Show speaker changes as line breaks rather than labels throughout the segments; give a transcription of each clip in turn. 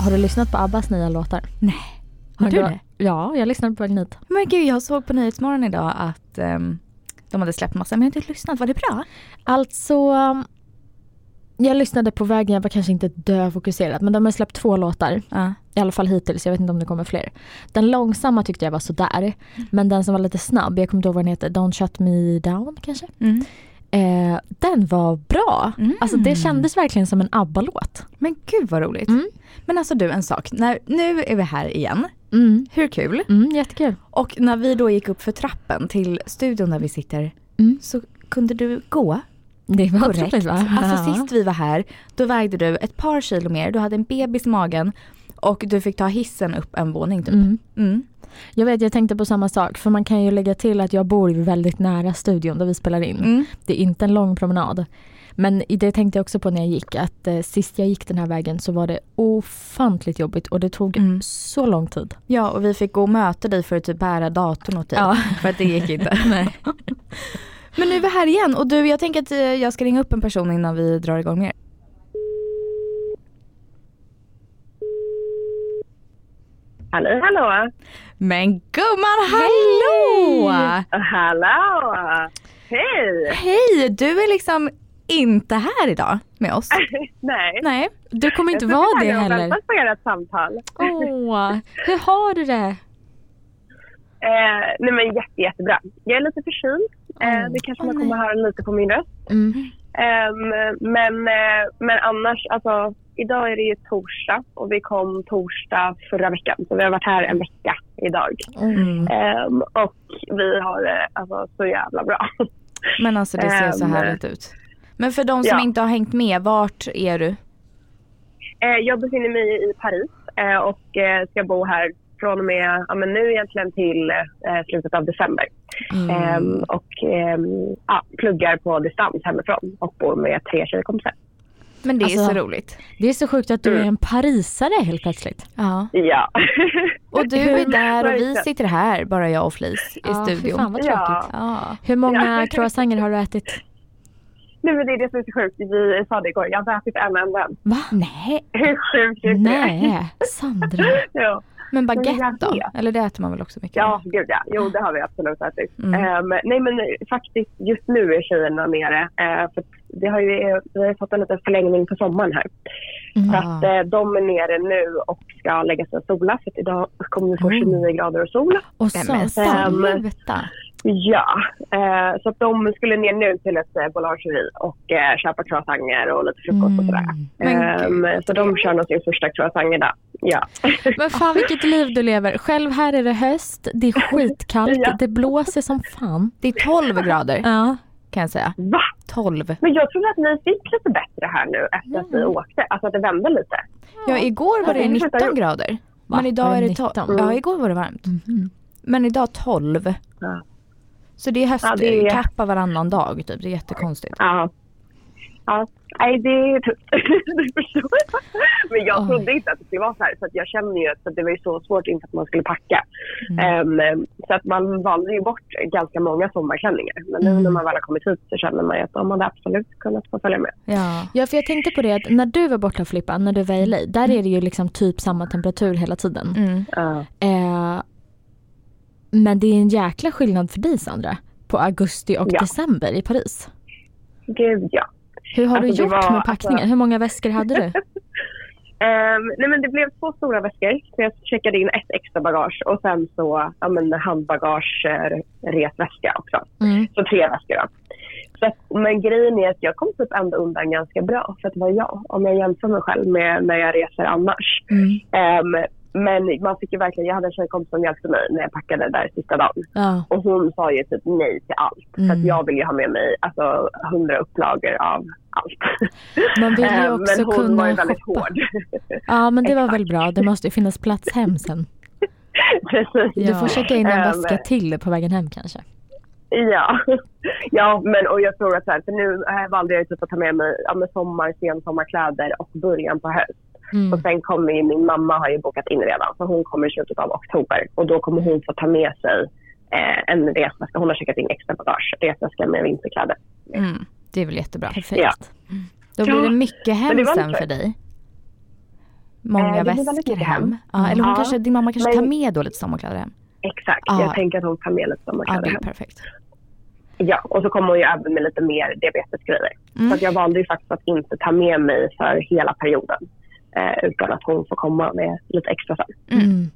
Har du lyssnat på Abbas nya låtar?
Nej. Har
Han
du
gav-
det?
Ja, jag lyssnade på vägen hit.
Men gud, jag såg på Nyhetsmorgon idag att ehm, de hade släppt massa, men jag har inte lyssnat. Var det bra?
Alltså, um, jag lyssnade på vägen, jag var kanske inte döfokuserad men de har släppt två låtar.
Ja.
I alla fall hittills, jag vet inte om det kommer fler. Den långsamma tyckte jag var sådär. Men den som var lite snabb, jag kommer inte ihåg vad den heter, Don't Shut Me Down kanske?
Mm.
Eh, den var bra.
Mm.
Alltså det kändes verkligen som en ABBA-låt.
Men gud vad roligt.
Mm.
Men alltså du, en sak. När, nu är vi här igen.
Mm.
Hur kul?
Mm, jättekul.
Och när vi då gick upp för trappen till studion där vi sitter
Mm.
så kunde du gå.
Det var
Korrekt.
otroligt va?
Alltså sist vi var här, då vägde du ett par kilo mer, du hade en bebis i magen och du fick ta hissen upp en våning typ.
Mm.
Mm.
Jag vet, jag tänkte på samma sak. För man kan ju lägga till att jag bor ju väldigt nära studion där vi spelar in.
Mm.
Det är inte en lång promenad. Men i det tänkte jag också på när jag gick. Att eh, sist jag gick den här vägen så var det ofantligt jobbigt. Och det tog
Mm.
så lång tid.
Ja och vi fick gå och möta dig för att typ bära datorn åt dig.
Ja.
För att det gick inte. Men nu är vi här igen och du jag tänker att eh, jag ska ringa upp en person innan vi drar igång mer.
Hallå, hallå!
Men gumman hallå!
Hallå! Hej!
Hej! Du är liksom inte här idag med oss.
Nej.
Nej.
Du kommer
Jag
inte
sitter
vara det
här och
heller.
väntar på ert samtal.
Åh, hur har du det?
Eh, nej men jätte, jättebra. Jag är lite förkyld. Eh,
Åh.
det kanske
Åh,
man kommer
nej.
höra lite på min röst.
Mm.
Ehm, men, eh, men annars, alltså idag är det ju torsdag och vi kom torsdag förra veckan. Så vi har varit här en vecka idag.
Mm.
Ehm, och vi har det alltså, så jävla bra.
Men alltså det ser så
Ehm.
härligt ut. Men för de som
Ja.
inte har hängt med, vart är du?
Eh, jag befinner mig i Paris eh, och eh, ska bo här från och med ja, men nu egentligen till eh, slutet av december.
Mm.
Ehm, och ehm, ja, pluggar på distans hemifrån och bor med tre tjejkompisar.
Men det är
Alltså-
så roligt.
Det är så sjukt att du är en parisare helt plötsligt.
Ja.
Ja.
Och du är där och vi
Verkligen.
sitter här, bara jag och Flis, i
Ja, fy
studion.
Fan vad tråkigt.
Ja.
Hur många
Ja.
croissanter har du ätit?
Nej, men det är det som är så sjukt. Vi sa det igår. Jag har ätit en enda. än.
Va? Nej.
Hur sjukt är det?
Nej, Sandra.
Ja.
Men
jag
baguette då?
vet.
Eller det äter man väl också mycket?
Ja, gud ja. Jo, det har vi absolut ätit.
Mm.
Ehm, nej, men faktiskt just nu är tjejerna nere. eh, för att det har ju, vi har ju fått en liten förlängning på sommaren här. Så
Mm. Ja.
att, eh, de är nere nu och ska lägga sig och sola. För att idag kommer vi få
Mm.
29 grader och sol.
Och
Nej, men
satan.
Sluta.
Ja, eh, så att de skulle ner nu till ett eh, boulangerie och eh, köpa croissanter och lite frukost och sådär.
Mm.
Men
Ehm,
gud,
så de
trevligt.
kör nog sin första croissant idag. Ja.
Men fan vilket liv du lever. Själv här är det höst, det är skitkallt,
Ja.
det blåser som fan.
Det är 12 grader
Ja.
kan jag säga.
Va?
12.
Men jag trodde att ni fick lite bättre här nu efter att vi åkte. Alltså att det vände lite.
Ja, igår var det
Ja, det är
19
precis.
grader.
Va?
Men idag
Var
är
det
det 12.
19?
Ja, igår var det varmt. Men idag 12.
Mhm. Ja.
Så det är höst,
Ja, det är-
kappa varannan dag typ. Det är jättekonstigt.
Ja. Ja. Nej, det du förstår. Men jag
Oj.
trodde inte att det skulle vara så här. Så att jag känner ju att det var ju så svårt inte att man skulle packa. Ehm, så att man valde ju bort ganska många sommarklänningar. Men nu när man väl har kommit hit så känner man ju att de hade absolut kunnat få följa med.
Ja.
Ja för jag tänkte på det att när du var borta Filippa, när du var i LA, där är det ju liksom typ samma temperatur hela tiden.
Mm.
Ja.
Eh, men det är en jäkla skillnad för dig Sandra, på augusti och
Ja.
december i Paris.
Gud ja.
Hur har
Alltså,
du
det
gjort
var-
med packningen?
alltså-
Hur många väskor hade du?
Ehm, nej men det blev två stora väskor. Så jag checkade in ett extra bagage och sen så ja, men, handbagage, eh, resväska också.
Mm.
Så tre väskor då. Så, att- men grejen är att jag kom typ ändå undan ganska bra för att vara jag. Om jag jämför mig själv med när jag reser annars.
Mm.
Ehm, men man fick ju verkligen, jag hade en tjejkompis som hjälpte mig när jag packade där sista dagen.
Ja.
Och hon sa ju typ nej till allt. För
Mm.
att jag vill ju ha med mig alltså, hundra upplagor av allt.
Man vill ju
Ehm,
också
men hon var ju
kunna
väldigt
shoppa.
hård.
Ja men det var väl bra, det måste ju finnas plats hem sen.
Precis.
Du får checka in en
Ehm,
väska till på vägen hem kanske.
Ja, ja men, och jag tror att så här, för nu eh, valde jag typ att ta med mig ja, men sommar, sensommarkläder och början på höst. Och
Mm.
sen kommer ju min mamma har ju bokat in redan, så hon kommer i slutet av oktober. Och då kommer hon få ta med sig eh, en resväska. Hon har skickat in extra bagage, resväska med vinterkläder.
Mm. Det är väl jättebra.
Perfekt.
Ja.
Då
Ja,
blir det mycket hem
men det var
sen
inte-
för dig.
Eh,
Många
det blir väldigt
väskor
mycket
hem.
hem.
Ja, eller hon
Ja,
kanske, din mamma kanske
men-
tar med då lite sommarkläder hem.
Exakt,
Ja.
jag tänker att hon tar med lite
Ja, det
sommarkläder
är
hem.
perfekt.
Ja, och så kommer hon ju även med lite mer diabetesgrejer.
Mm.
Så att jag valde ju faktiskt att inte ta med mig för hela perioden. Eh, utan att hon får komma med lite extra sen.
Mm.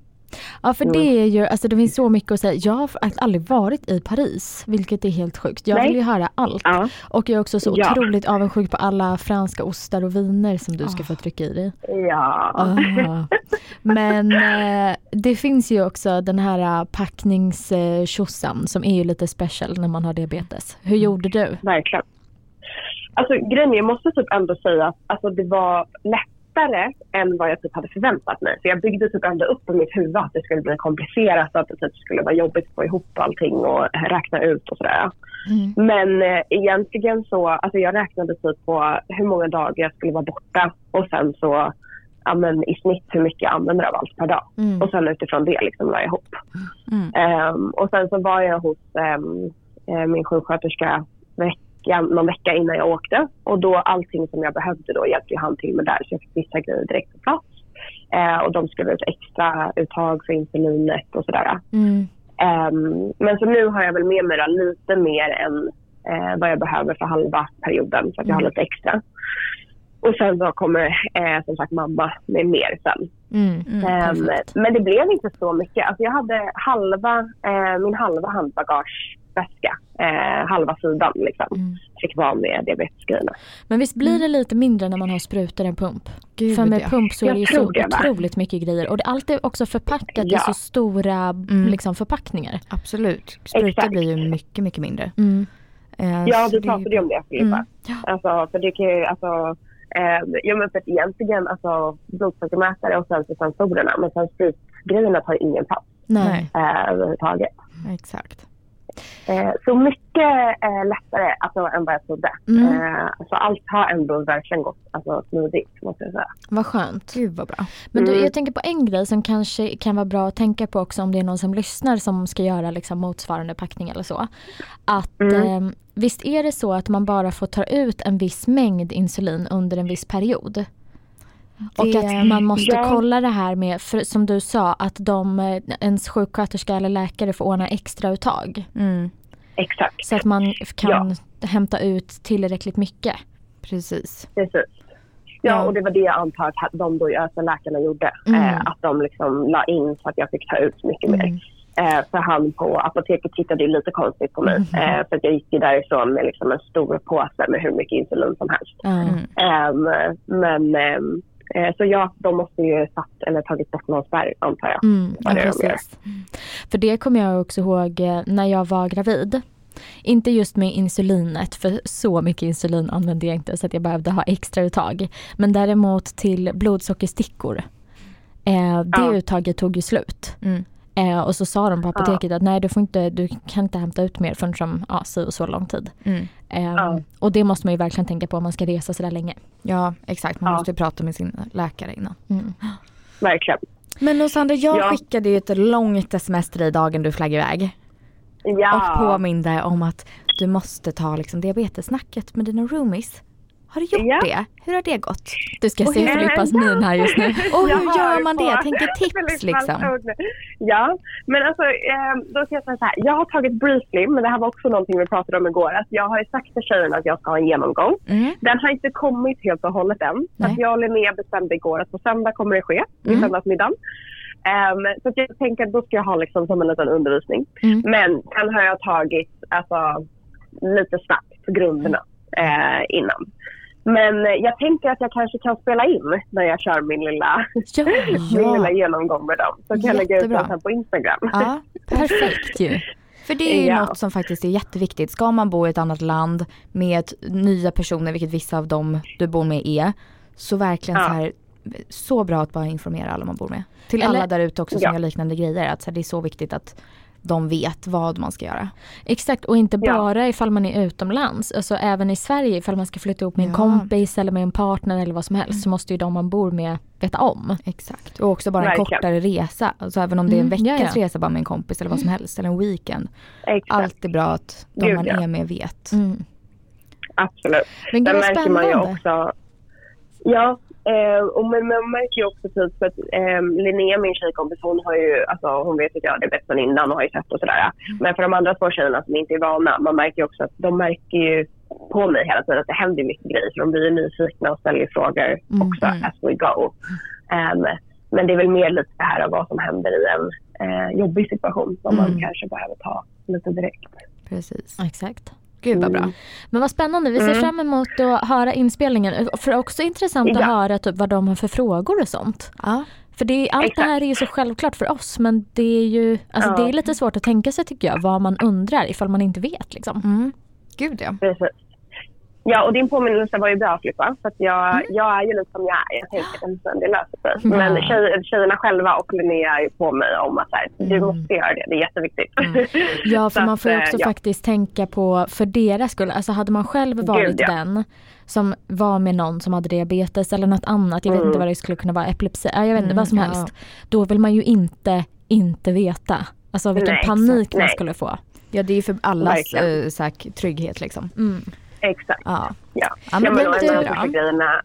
Ja för
Mm.
det är ju, alltså det finns så mycket att säga. Jag har faktiskt aldrig varit i Paris, vilket är helt sjukt. Jag
Nej.
vill ju höra allt.
Ja,
Och jag är också så
Ja.
otroligt avundsjuk på alla franska ostar och viner som du ska
Ah.
få trycka i dig.
ja.
Ah. Men eh, det finns ju också den här packningstjosan som är ju lite special när man har diabetes.
Mm.
Hur gjorde du?
verkligen. Alltså grejen är, jag måste typ ändå säga att alltså, det var lättare än vad jag typ hade förväntat mig. För jag byggde typ ändå upp i mitt huvud att det skulle bli komplicerat och att det typ skulle vara jobbigt att få ihop allting och räkna ut och sådär.
Mm.
Men eh, egentligen så, alltså jag räknade typ på hur många dagar jag skulle vara borta och sen så ja, men, i snitt hur mycket jag använder av allt per dag.
Mm.
Och sen utifrån det liksom la jag ihop.
Mm.
Ehm, och sen så var jag hos ehm, eh, min sjuksköterska veckan, någon vecka innan jag åkte. Och då allting som jag behövde då hjälpte ju han till med där. Så jag fick vissa grejer direkt på plats. Eh, och de skulle ut extra uttag för insulinet och sådär.
Mm.
Ehm, men så nu har jag väl med mig då lite mer än eh, vad jag behöver för halva perioden. Så att jag har
Mm.
lite extra. Och sen så kommer eh, som sagt mamma med mer sen.
Mm.
Mm.
Ehm,
Perfekt.
men det blev inte så mycket. Alltså jag hade halva, eh, min halva handbagageväska, eh, halva sidan liksom,
Mm.
fick vara med diabetesgrejerna.
Men visst blir det lite mindre när man har sprutor än pump?
Gud,
för med
ja.
pump så är
Jag
det ju så
tror det, va?
otroligt mycket grejer och det, allt är också förpackat i
Ja.
så stora liksom, förpackningar.
Absolut. Sprutor
Exakt.
blir ju mycket, mycket mindre.
Mm.
Eh,
Ja,
så
vi
det är
pratade ju om det Filippa.
Mm.
Alltså, för det kan ju, alltså, eh, ja men för att egentligen alltså blodsockermätare och sen så sensorerna men sen spritgrejerna tar ju ingen plats
Nej.
Nej.
eh, överhuvudtaget.
Exakt.
Eh, så mycket eh, lättare alltså, än vad jag trodde.
Mm.
Eh, så allt har ändå verkligen gått alltså, smidigt måste jag säga.
Vad skönt.
Gud vad bra.
Men du,
Mm.
jag tänker på en grej som kanske kan vara bra att tänka på också om det är någon som lyssnar som ska göra liksom motsvarande packning eller så. Att
Mm.
eh, visst är det så att man bara får ta ut en viss mängd insulin under en viss period? Och
Det-
att man måste
Ja.
kolla det här med, för, som du sa, att de, eh, ens sjuksköterska eller läkare får ordna extra uttag.
Mm.
Exakt,
Så att man f- kan hämta ut tillräckligt mycket.
Precis.
precis.
Ja.
Ja, och det var det jag antar att de då, alltså läkarna gjorde.
Mm.
Eh, att de liksom la in så att jag fick ta ut mycket mer.
Mm.
Eh, för han på apoteket tittade ju lite konstigt på mig.
Mm.
Eh, för att jag gick ju därifrån med liksom en stor påse med hur mycket insulin som helst.
Ja.
Mm.
Ehm, men ehm, eh, så ja, de måste ju satt eller tagit bort någon spärr antar jag.
Mm, ja,
vad det är de
precis. För det kommer jag också ihåg eh, när jag var gravid. Inte just med insulinet, för så mycket insulin använde jag inte så att jag behövde ha extra uttag. Men däremot till blodsockerstickor. Eh, det
Ja.
uttaget tog ju slut.
Mm.
Eh, och så sa de på apoteket att nej du, får inte, du kan inte hämta ut mer förrän som, ja, si och så lång tid.
Mm.
Eh,
Ja.
Och det måste man ju verkligen tänka på om man ska resa sådär länge.
Ja, exakt. Man
Ja.
måste ju prata med sin läkare innan.
Mm.
Verkligen.
Men och Sandra, jag
Ja.
skickade ju ett långt sms till dig dagen du flaggade iväg.
Ja.
Och påminde om att du måste ta liksom diabetessnacket med dina roomies. Har du gjort
Ja.
det? Hur har det gått?
Du ska
Och
se
hur-
Filippas min här just nu.
Och hur
Jag
gör
hör
man det?
på-
Jag tänker tips
Väldigt
liksom.
falskt ord nu. Ja, men alltså eh, då ska jag säga så här. Jag har tagit briefly, men det här var också någonting vi pratade om igår. Att jag har ju sagt till tjejerna att jag ska ha en genomgång.
Mm.
Den har inte kommit helt och hållet än. Så
Nej.
att jag och Linnea bestämde igår att på söndag kommer det ske, i
Mm.
söndagsmiddagen. Ehm, så att jag tänker att då ska jag ha liksom som en liten undervisning.
Mm.
Men sen har jag tagit alltså, lite snabbt på grunderna eh, innan. Men eh, jag tänker att jag kanske kan spela in när jag kör min lilla
Ja,
min lilla genomgång med dem. Så kan jag lägga ut
Jättebra.
den här på Instagram.
Ja,
perfekt ju.
För det är ju
Ja.
något som faktiskt är jätteviktigt. Ska man bo i ett annat land med ett- nya personer, vilket vissa av dem du bor med är, så verkligen
Ja.
så här, så bra att bara informera alla man bor med. Till
Eller-
alla där ute också som
Ja.
gör liknande grejer, att så här, det är så viktigt att de vet vad man ska göra.
Exakt och inte
Ja.
bara ifall man är utomlands. Alltså även i Sverige ifall man ska flytta ihop med en
Ja.
kompis eller med en partner eller vad som
Mm.
helst så måste ju de man bor med veta om.
Exakt. Och också bara en
Verkligen.
kortare resa. Alltså även om det är en
Mm, ja,
veckas
ja.
resa bara med en kompis eller vad som helst. Eller en weekend.
Exakt,
Allt är bra att de
Gud,
man
ja.
är med vet.
Mm.
absolut.
Men
Där
gud vad
märker man ju
spännande.
också... Ja, eh, och man, man märker ju också typ för att eh, Linnea, min tjejkompis, hon, har ju, alltså, hon vet att jag hade bett sen innan och har ju sett och
Mm.
sådär. Men för de andra två tjejerna som inte är vana, man märker ju också att de märker ju på mig hela tiden att det händer ju mycket grejer. Så de blir ju nyfikna och ställer ju frågor också
Mm.
as we go. Em, men det är väl mer lite det här av vad som händer i en eh, jobbig situation som
Mm.
man kanske behöver ta lite direkt.
Precis.
Exakt.
Gud vad bra.
Mm.
Men vad spännande, vi ser
Mm.
fram emot att höra inspelningen. För det är också intressant att
Ja.
höra typ vad de har för frågor och sånt.
Ja.
För det är, allt det
Exakt.
här är ju så självklart för oss men det är ju alltså,
Ja.
det är lite svårt att tänka sig tycker jag vad man undrar ifall man inte vet. Liksom.
Mm. Gud ja.
Precis. Ja, och din påminnelse var ju bra Filippa. För att jag,
Mm.
jag är ju lite som jag är. Jag tänker en stund, det löser sig. Men
Ja.
tjej, tjejerna själva och Linnea är ju på mig om att så här, du
Mm.
måste göra det. Det är jätteviktigt.
Mm.
Ja, för
Så
man
att,
får ju
eh,
också
ja.
faktiskt tänka på för deras skull. Alltså hade man själv varit
ja.
den som var med någon som hade diabetes eller något annat. Jag vet
Mm.
inte vad det skulle kunna vara. Epilepsi. ja, Jag vet inte,
Mm,
vad som
ja.
helst. Då vill man ju inte inte veta. Alltså vilken
Nej,
panik
exakt.
man
Nej.
skulle få.
Ja det är ju för allas
Verkligen.
eh, säk- trygghet liksom.
Mm.
Exakt.
Ja.
Ja.
Ja, men
Nej,
det
och en av de
betyder-
första grejerna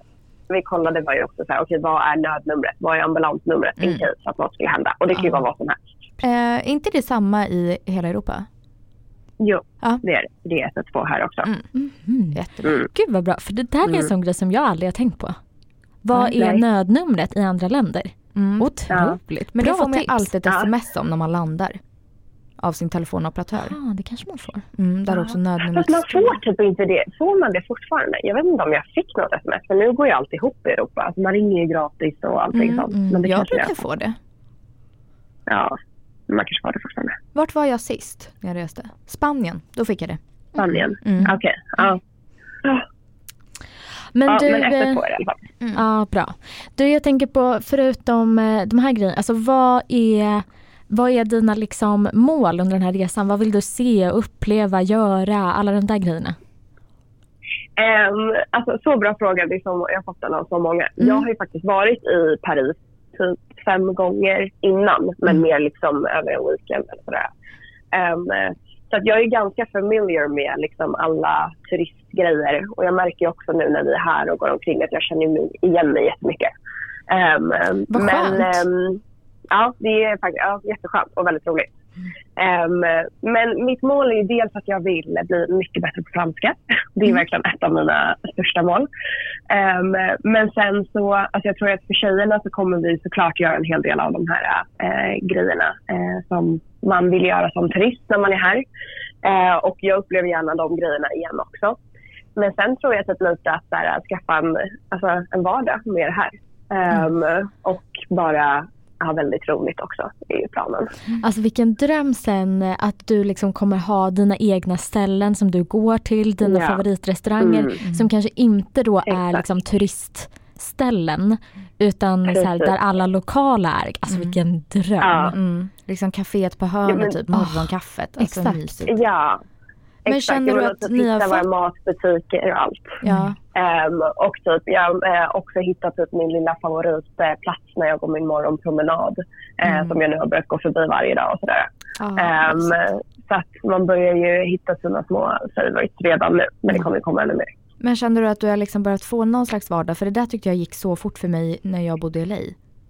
vi kollade var ju också så här, okej vad är nödnumret? Vad är ambulansnumret in
Mm.
case att något skulle hända? Och det kan ju
Ja.
vara vad som helst.
Eh, är inte det samma i hela Europa?
Jo,
Ja.
det är det. Det är 112 här också.
Mm.
Mm.
Jättebra.
Mm.
Gud vad bra. För det där är en
Mm.
sån grej som jag aldrig har tänkt på. Vad
Nej.
är
Nej.
nödnumret i andra länder?
Mm.
Otroligt.
Men
bra
det får man ju
tips.
alltid ett
Ja.
sms om när man landar. Av sin telefonoperatör.
Ah, det kanske man får.
Mm, där
Ja.
också
Fast
nödnumret
man får typ inte det. Får man det fortfarande? Jag vet inte om jag fick något sms. För nu går ju allt ihop i Europa. Alltså man ringer ju gratis och allting
Mm,
sånt.
mm.
liksom. Men det
Jag
kanske
brukar
jag,
få det.
ja, men man kanske har det fortfarande.
Vart var jag sist när jag reste? Spanien, då fick jag det.
Spanien.
Mm.
Okej. Ja.
Men
ja,
du,
men
eh,
efter på det i alla fall.
Ja, bra. Du, jag tänker på, förutom eh, de här grejerna, alltså vad är, vad är dina liksom mål under den här resan? Vad vill du se, uppleva, göra, alla de där grejerna?
Ehm, alltså, så bra fråga. Det är som, jag har fått den av så många.
Mm.
Jag har ju faktiskt varit i Paris typ fem gånger innan, men
Mm.
mer liksom över en weekend eller sådär. Ehm, så att jag är ganska familiar med liksom alla turistgrejer och jag märker ju också nu när vi är här och går omkring att jag känner mig igen mig jättemycket. Um,
Vad
men,
skönt.
ehm, ja, det är faktiskt ja, jätteskönt och väldigt roligt. Ehm, men mitt mål är ju dels att jag vill bli mycket bättre på franska. Det är
Mm.
verkligen ett av mina största mål. Ehm, men sen så, alltså jag tror att för tjejerna så kommer vi såklart göra en hel del av de här eh, grejerna eh, som man vill göra som turist när man är här. Eh, och jag upplever gärna de grejerna igen också. Men sen tror jag typ lite att så här, skaffa en, alltså, en vardag med det här. Ehm, Och bara ha väldigt roligt också, är ju planen.
Alltså vilken dröm sen eh, att du liksom kommer ha dina egna ställen som du går till, dina
Ja.
favoritrestauranger
Mm.
som kanske inte då är
Exakt.
liksom turistställen utan så här,
Precis.
där alla lokala är. Alltså
Mm.
vilken dröm.
Ja.
Mm. Liksom kaféet på
Ja,
hörnet,
men-
typ morgonkaffet. Alltså,
Ah, Exakt.
mysigt.
Ja.
Men
exakt.
känner
Jag
du
menar,
att ni har
hitta
fått-
våra matbutiker och allt.
Ja.
Ehm, och typ, jag har också hittat typ min lilla favoritplats när jag går min morgonpromenad. eh,
Mm.
Som jag nu har börjat gå förbi varje dag och sådär.
Ja,
Ehm,
mysigt.
så att man börjar ju hitta sina små favorites redan nu. Men det
Mm.
kommer ju komma ännu mer.
Men känner du att du har liksom börjat få någon slags vardag? För det där tyckte jag gick så fort för mig när jag bodde i LA.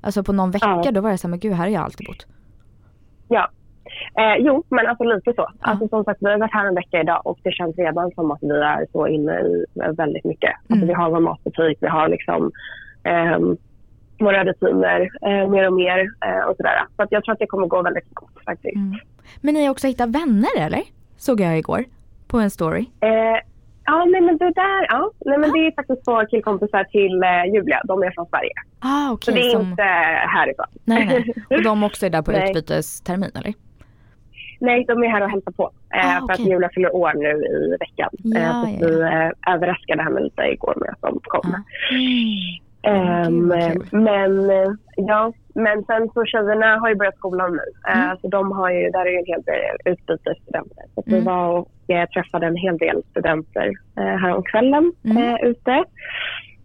Alltså på någon vecka
Ja.
då var jag såhär, men gud här har jag alltid bott.
Ja. Eh, jo, men alltså lite så. Alltså, som sagt, vi har varit här en vecka idag och det känns redan som att vi är så inne i väldigt mycket. Alltså,
Mm.
Vi har vår matbutik, vi har liksom, ehm, våra rutiner eh, mer och mer. Eh, och sådär. Så att jag tror att det kommer gå väldigt fort faktiskt.
Men ni har också hittat vänner eller? Såg jag igår. På en story.
Eh, ja, nej, men det där, ja. Nej, men det är faktiskt två killkompisar till eh, Julia. De är från Sverige.
Ah
Så
okej.
det är
som...
inte härifrån.
Nej, nej. Och de också är där på
Nej.
utbytestermin eller?
Nej, de är här och hälsar på. Eh,
Ah,
För att
okej.
Julia fyller år nu i veckan.
Ja,
eh, så att
ja, Ah.
vi eh, överraskade henne lite igår med att de kom.
Ja.
Ehm,
Gud, vad kul.
men eh, ja, Men sen så tjejerna har ju börjat skolan nu. Eh,
Mm.
Så de har ju, där är ju en hel del utbytesstudenter. Så att vi
Mm.
var och eh, träffade en hel del studenter eh, häromkvällen
Mm.
eh, ute.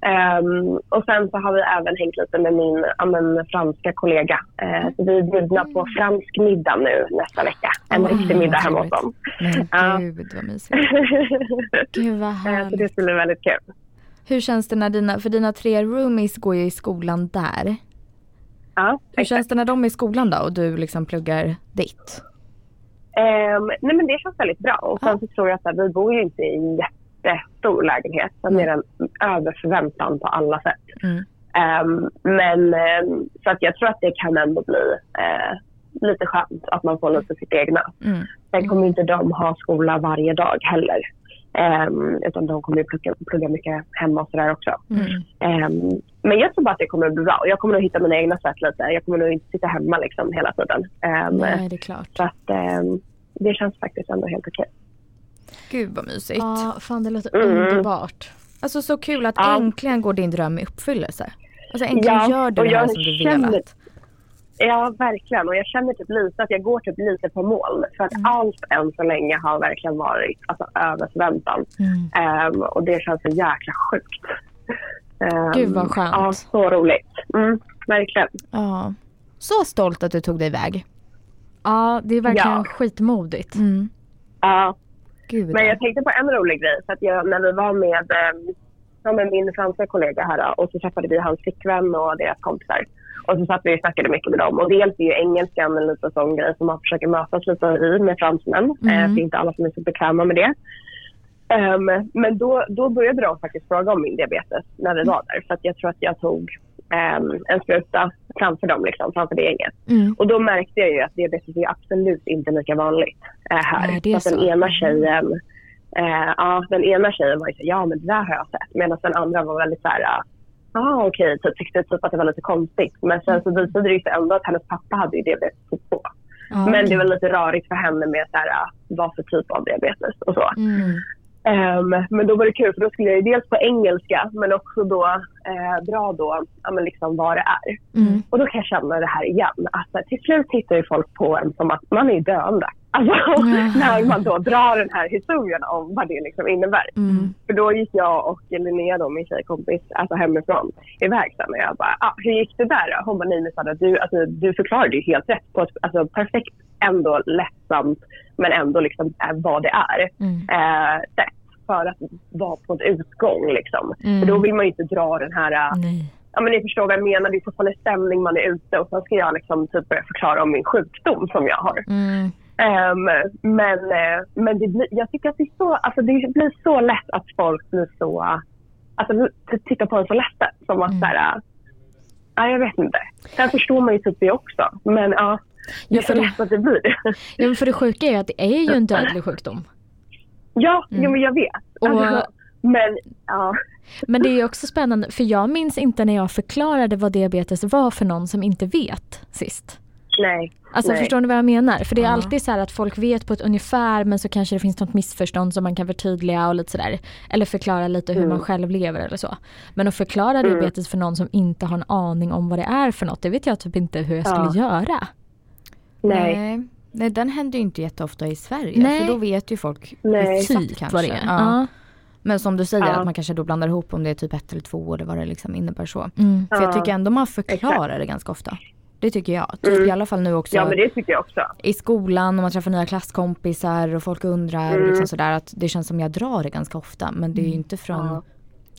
Ehm, och sen så har vi även hängt lite med min ja, men, franska kollega. Eh, så vi är bjudna på
Mm.
fransk middag nu nästa vecka. En
Oj,
riktig middag
vad
hemma hos
trevligt.
dem. Ja.
Men gud vad mysigt.
Gud vad
Eh, så
härligt.
det skulle bli väldigt kul.
Hur känns det när dina, för dina tre roomies går ju i skolan där.
Ja,
Hur
exakt.
känns det när de är i skolan då och du liksom pluggar ditt?
Ehm, nej men det känns väldigt bra. Och sen så tror jag att så här, vi bor ju inte i en jättestor lägenhet. Den är den över förväntan på alla sätt.
Mm.
Ehm, men ehm, så att jag tror att det kan ändå bli eh, lite skönt att man får lite sitt egna.
Mm.
Sen kommer ju inte de ha skola varje dag heller. Ehm, utan de kommer ju plugga, plugga mycket hemma och sådär också.
Mm.
Ehm, men jag tror bara att det kommer bli bra. Och Jag kommer nog hitta mina egna sätt lite. Jag kommer nog inte sitta hemma liksom hela tiden. Ehm,
Nej, det är klart.
så att ehm, det känns faktiskt ändå helt okej.
Gud vad mysigt.
Ja, fan det låter
Mm.
underbart.
Alltså så kul att
Ja.
äntligen går din dröm i uppfyllelse. Alltså äntligen
Ja,
gör du
och
det här
jag
som du
känner-
velat.
Ja, verkligen. Och jag känner typ lite att jag går typ lite på moln. För
Mm.
att allt än så länge har verkligen varit alltså, över förväntan.
Mm.
Ehm, och det känns så jäkla sjukt. Ehm,
Gud, vad skönt.
Ja, så roligt. Mm, verkligen.
Ja. Så stolt att du tog dig iväg.
Ja, det är verkligen
Ja.
skitmodigt.
Mm.
Ja.
Gud.
Men jag tänkte på en rolig grej. Så att jag, när vi var med, eh, ja, med min franska kollega här då, och så träffade vi hans flickvän och deras kompisar. Och så satt vi och snackade mycket med dem. Och dels är ju engelskan en liten sån grej som man försöker mötas lite i med fransmän. Eh, det är inte alla som är så bekväma med det. Ehm, men då, då började de faktiskt fråga om min diabetes när vi var där. För att jag tror att jag tog ehm, en spruta framför dem, liksom, framför det gänget.
Mm.
Och då märkte jag ju att diabetes är absolut inte lika vanligt eh, här.
Nej, det är
så att den
så. Mm.
ena tjejen eh, ja, den ena tjejen var ju så ja men det där har jag sett. Medan den andra var väldigt så här, ja ah, okej, typ, tyckte typ att det var lite konstigt. Men sen så visade det ju sig ändå att hennes pappa hade ju diabetes typ 2.
Ja,
men
Ah, okej.
det var lite rörigt för henne med så här, ah, vad för typ av diabetes och så.
Mm.
Ehm, men då var det kul för då skulle jag ju dels på engelska men också då eh, dra då, ja, men liksom vad det är.
Mm.
Och då kan jag känna det här igen. Att till slut tittar ju folk på en som att man är döende. Alltså när man då drar den här historien om vad det liksom innebär.
Mm.
För då gick jag och Linnea då, min tjejkompis, alltså hemifrån iväg sen och jag bara, ah, hur gick det där då? Hon bara, nej men Sandra, du, alltså, du förklarade ju helt rätt på ett alltså, perfekt, ändå lättsamt, men ändå liksom eh, vad det är.
Mm.
Eh, sätt för att vara på en utgång liksom.
Mm.
För då vill man ju inte dra den här eh,
Nej.
ja, men ni förstår vad jag menar. Det är fortfarande stämning man är ute och sen ska jag liksom typ börja förklara om min sjukdom som jag har.
Mm.
Ehm, men eh, men det blir, jag tycker att det, är så, alltså det blir så lätt att folk blir så... Alltså t- tittar på en så lätt som att
Mm.
så här, äh, Nej, jag vet inte. Sen förstår man ju typ det också. Men ja, det är
Ja,
så
för, det,
lätt att det blir.
ja, men för det sjuka är ju att det är ju en dödlig sjukdom.
ja, jo, men jag vet. Alltså,
Mm. Och-
men ja.
Men det är ju också spännande för jag minns inte när jag förklarade vad diabetes var för någon som inte vet sist.
Nej.
Alltså
nej.
förstår ni vad jag menar? För det är
Ja.
alltid så här att folk vet på ett ungefär men så kanske det finns något missförstånd som man kan förtydliga och lite sådär. Eller förklara lite hur
Mm.
man själv lever eller så. Men att förklara diabetes för någon som inte har en aning om vad det är för något, det vet jag typ inte hur jag
Ja.
skulle göra.
Nej.
Mm.
Nej. Nej, den händer ju inte jätteofta i Sverige.
Nej.
För då vet ju folk
Nej.
exakt
Typ
kanske.
vad det är.
Ja.
Ja.
Men som du säger,
Ja.
att man kanske då blandar ihop om det är typ ett eller två år eller vad det liksom innebär så.
Mm.
För jag
Ja.
tycker ändå man förklarar det ganska ofta. Det tycker jag. Typ i alla fall nu också
Mm. Ja, men det tycker jag också.
i skolan och man träffar nya klasskompisar och folk undrar och
Mm.
liksom sådär att det känns som jag drar det ganska ofta men det är ju inte från
Ja.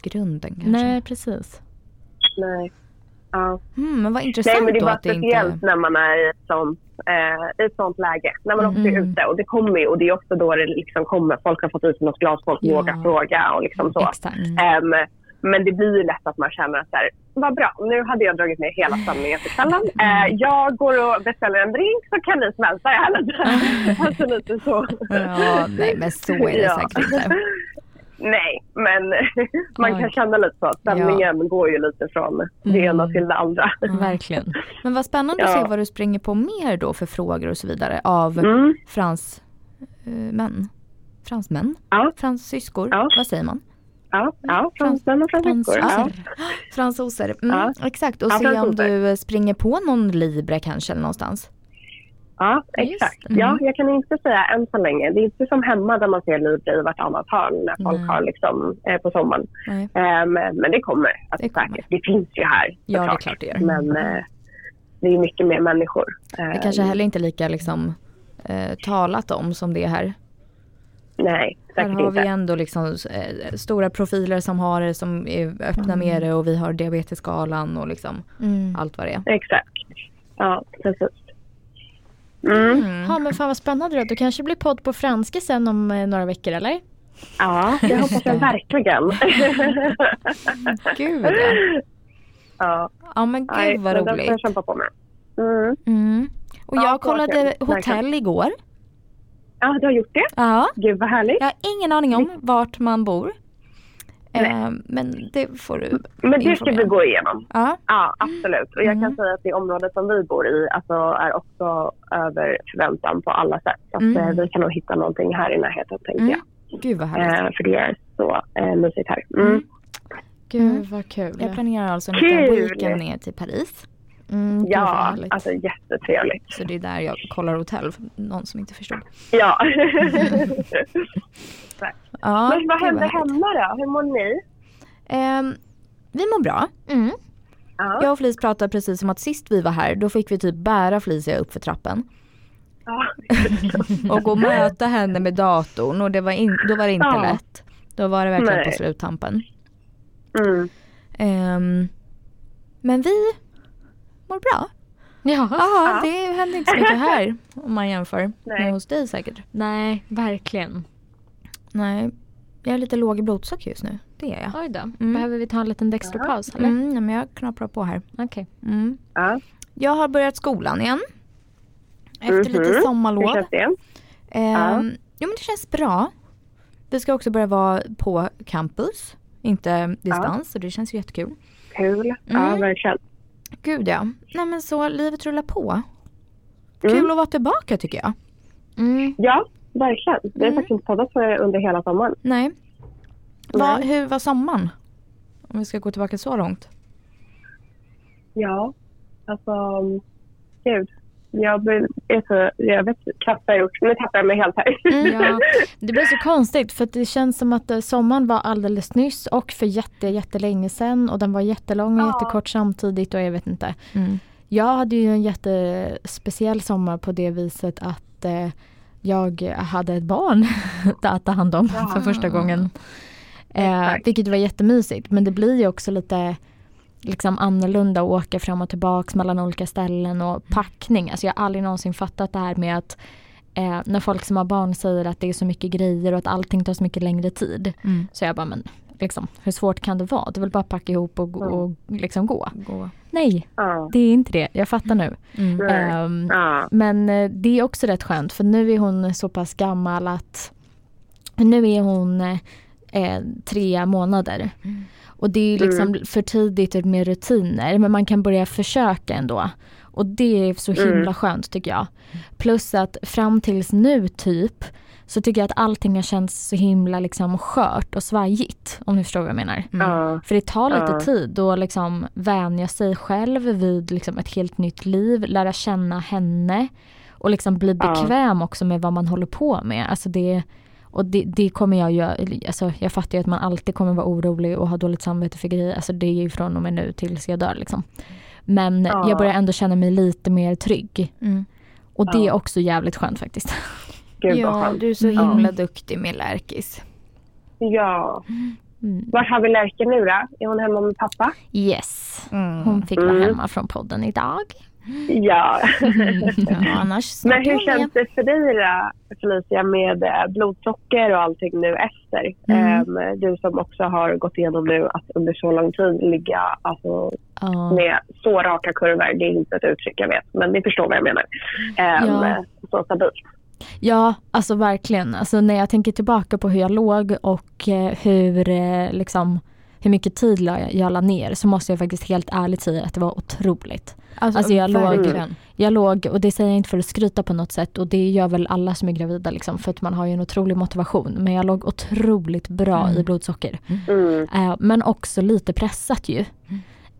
grunden kanske.
Nej precis.
Nej. Ja.
Mm, men vad intressant
Nej, men det är
då
bara
att det
speciellt
inte...
när man är i ett sånt, eh, i ett sånt läge. När man också är ute. Och det kommer ju, och det är också då det liksom kommer. Folk har fått i sig något glas, folk
Ja.
vågar fråga och liksom så.
Exakt.
Ehm, men det blir ju lätt att man känner att så här, vad bra, nu hade jag dragit ner hela stämningen för kvällen. Eh, jag går och beställer en drink så kan ni smälta det här lite. alltså lite så.
Ja, nej men så är det
Ja.
säkert inte.
Nej, men man
Oj.
kan känna lite så. Stämningen går ju lite från det ena till det andra.
Verkligen.
Men vad spännande att
Ja.
se vad du springer på mer då för frågor och så vidare av
Mm.
frans, eh, män. Fransmän?
Ja.
Fransyskor?
Ja.
Vad säger man?
Ja, ja fransmän och fransyskor. Ja.
Fransoser.
Fransoser. Mm,
Ja.
Exakt och
Ja,
se om
fransoser.
du springer på någon Libre kanske eller någonstans.
ja,
Just.
exakt.
Mm.
Ja, jag kan inte säga än så länge. Det är inte som hemma där man ser Libra i vartannat hörn när folk
Nej.
har liksom, eh, på sommaren.
Nej.
Ehm, men det kommer, alltså,
Det
det
kommer.
säkert. Det finns ju här
Ja, det är
såklart.
klart det gör.
Men eh, det är mycket mer människor. Ehm,
Det kanske heller inte är lika liksom, eh, talat om som det är här.
Nej,
Här
säkert
har vi
inte.
ändå liksom, eh, stora profiler som har det, som är öppna
Mm.
med det och vi har diabetesskalan och liksom
Mm.
allt vad det är.
Exakt. Ja, precis. Mm.
Ja men fan vad spännande då. Då kanske det blir podd på franska sen om eh, några veckor eller?
Ja, det hoppas jag verkligen.
Gud ja.
ja,
ja men
nej,
gud vad
men den får jag
roligt.
kämpa på med. Mm.
Mm. Och
Ja,
jag
så var
kollade
kul.
hotell igår.
Ja, du har gjort det?
Ja.
Gud vad härligt.
Jag har ingen aning om vart man bor.
Mm. Nej.
Eh, men det får du.
Men det ska vi
informera.
gå igenom.
Ja.
Ja, absolut. Och jag kan säga att det området som vi bor i alltså, är också över förväntan på alla sätt. Så att,
Mm.
eh, vi kan nog hitta någonting här i närheten tänkte
Mm.
jag.
Gud vad härligt.
Eh, för det är så eh, mysigt här. Mm.
Mm.
Gud
Mm.
vad kul.
Jag planerar alltså en liten
Kul!
weekend ner till Paris.
Mm, gud, vad
Ja,
härligt.
alltså jättetrevligt.
Så det är där jag kollar hotell. för Någon som inte förstod.
Ja.
Ja,
Men vad
gud,
hände
härligt.
hemma då? Hur mår ni?
Ehm, vi mår bra.
Mm.
Ja.
Jag och Felice pratade precis om att sist vi var här då fick vi typ bära Felicia upp för trappen.
Ja.
Och gå och möta henne med datorn och det var in, då var det inte
Ja.
lätt. Då var det verkligen
Nej.
på sluttampen.
Mm.
Ehm, men vi mår bra.
Ja.
Ja,
Ja.
det händer inte så mycket här om man jämför
Nej.
med hos dig säkert.
Nej, verkligen.
Nej, jag är lite låg i blodsocker just nu. Det är jag.
Oj då. Behöver vi ta en liten dextropaus eller?
Mm, nej, men jag knaprar på här.
Okej.
Mm.
Ja.
Jag har börjat skolan igen. Efter lite
Mhm. Hur
sommarlov.
känns det?
Ehm, Jo men det känns bra. Vi ska också börja vara på campus, inte distans så det känns ju jättekul.
Kul. Ja,
Mm.
verkligen.
Gud ja. Nej men så livet rullar på.
Mm.
Kul att vara tillbaka tycker jag.
Mm.
Ja, verkligen. Vi har
Mm.
faktiskt inte poddat för under hela sommaren.
Nej. Va,
Nej.
hur var sommaren? Om vi ska gå tillbaka så långt.
Ja, alltså gud. Jag, blir- är så, jag vet knappt vad jag gjort. Nu tappar jag mig helt här.
Mm.
Ja, det blir så konstigt för att det känns som att eh, sommaren var alldeles nyss och för jätte, jättelänge sedan och den var jättelång och
Ja.
jättekort samtidigt och jag vet inte.
Mm.
Jag hade ju en jättespeciell sommar på det viset att eh, jag hade ett barn att ta hand om
Ja.
för första gången. Eh,
Exakt.
vilket var jättemysigt men det blir ju också lite liksom annorlunda att åka fram och tillbaks mellan olika ställen och packning. Alltså jag har aldrig någonsin fattat det här med att eh, när folk som har barn säger att det är så mycket grejer och att allting tar så mycket längre tid.
Mm.
Så jag bara men liksom, hur svårt kan det vara? Du vill bara packa ihop och, gå-
Mm.
och liksom gå.
Gå.
Nej,
Ja.
det är inte det. Jag fattar nu.
Mm.
Nej.
Ehm,
Ja.
men eh, det är också rätt skönt för nu är hon så pass gammal att nu är hon eh, eh, tre månader.
Mm.
Och det är ju liksom för tidigt med rutiner men man kan börja försöka ändå. Och det är så himla
Mm.
skönt tycker jag. Plus att fram tills nu typ så tycker jag att allting har känts så himla liksom skört och svajigt om ni förstår vad jag menar.
Mm.
Ja.
För det tar lite
Ja.
tid att liksom vänja sig själv vid liksom ett helt nytt liv, lära känna henne och liksom bli
Ja.
bekväm också med vad man håller på med. Alltså det, och det, det kommer jag göra, alltså jag fattar ju att man alltid kommer vara orolig och ha dåligt samvete för grejer. Alltså det är ju från och med nu tills jag dör liksom. Men
Ja.
jag börjar ändå känna mig lite mer trygg.
Mm.
Och det är
Ja.
också jävligt skönt faktiskt.
Gud vad
Ja,
skönt.
du är så
Ja.
himla duktig med Lärkis.
Ja.
Mm.
Vart har vi Lärke nu då? Är hon hemma med pappa?
Yes,
Mm.
hon fick vara
Mm.
hemma från podden idag.
Ja.
Mm. Ja, annars snart
Men hur
är hon
känns det för dig då, Felicia med eh, blodsocker och allting nu efter?
Mm.
Ehm, Du som också har gått igenom nu att under så lång tid ligga alltså,
Ja.
med så raka kurvor. Det är inte ett uttryck jag vet, men ni förstår vad jag menar. Ehm,
Ja.
Så stabilt.
Ja, alltså verkligen. Alltså när jag tänker tillbaka på hur jag låg och eh, hur, eh, liksom, hur mycket tid la jag, jag la ner så måste jag faktiskt helt ärligt säga att det var otroligt.
igen. Alltså,
Alltså, jag låg-
verkligen.
Jag låg, och det säger jag inte för att skryta på något sätt och det gör väl alla som är gravida liksom, för att man har ju en otrolig motivation. Men jag låg otroligt bra
Mm.
i blodsocker.
Mm.
Eh, men också lite pressat ju.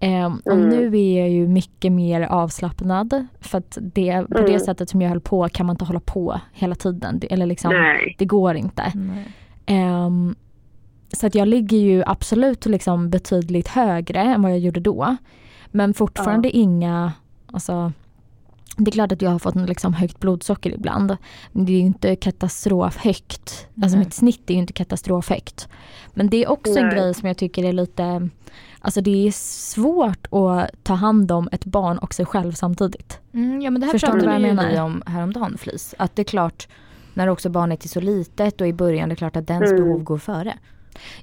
Eh, och
Mm.
nu är jag ju mycket mer avslappnad för att det, på det
Mm.
sättet som jag höll på kan man inte hålla på hela tiden. Det, eller liksom,
Nej.
det går inte.
Nej.
Ehm, så att jag ligger ju absolut liksom betydligt högre än vad jag gjorde då. Men fortfarande inga, alltså det är klart att jag har fått en liksom högt blodsocker ibland. Men det är ju inte katastrofhögt. Alltså
Nej.
mitt snitt är ju inte katastrofhögt. Men det är också en
Nej.
grej som jag tycker är lite, alltså det är svårt att ta hand om ett barn och sig själv samtidigt.
Mm, ja men det här
Förstår du
pratade
vad jag
ju
menar?
vi om häromdagen Flis. Att det är klart när också barnet är så litet och i början det är klart att dens
Mm.
behov går före.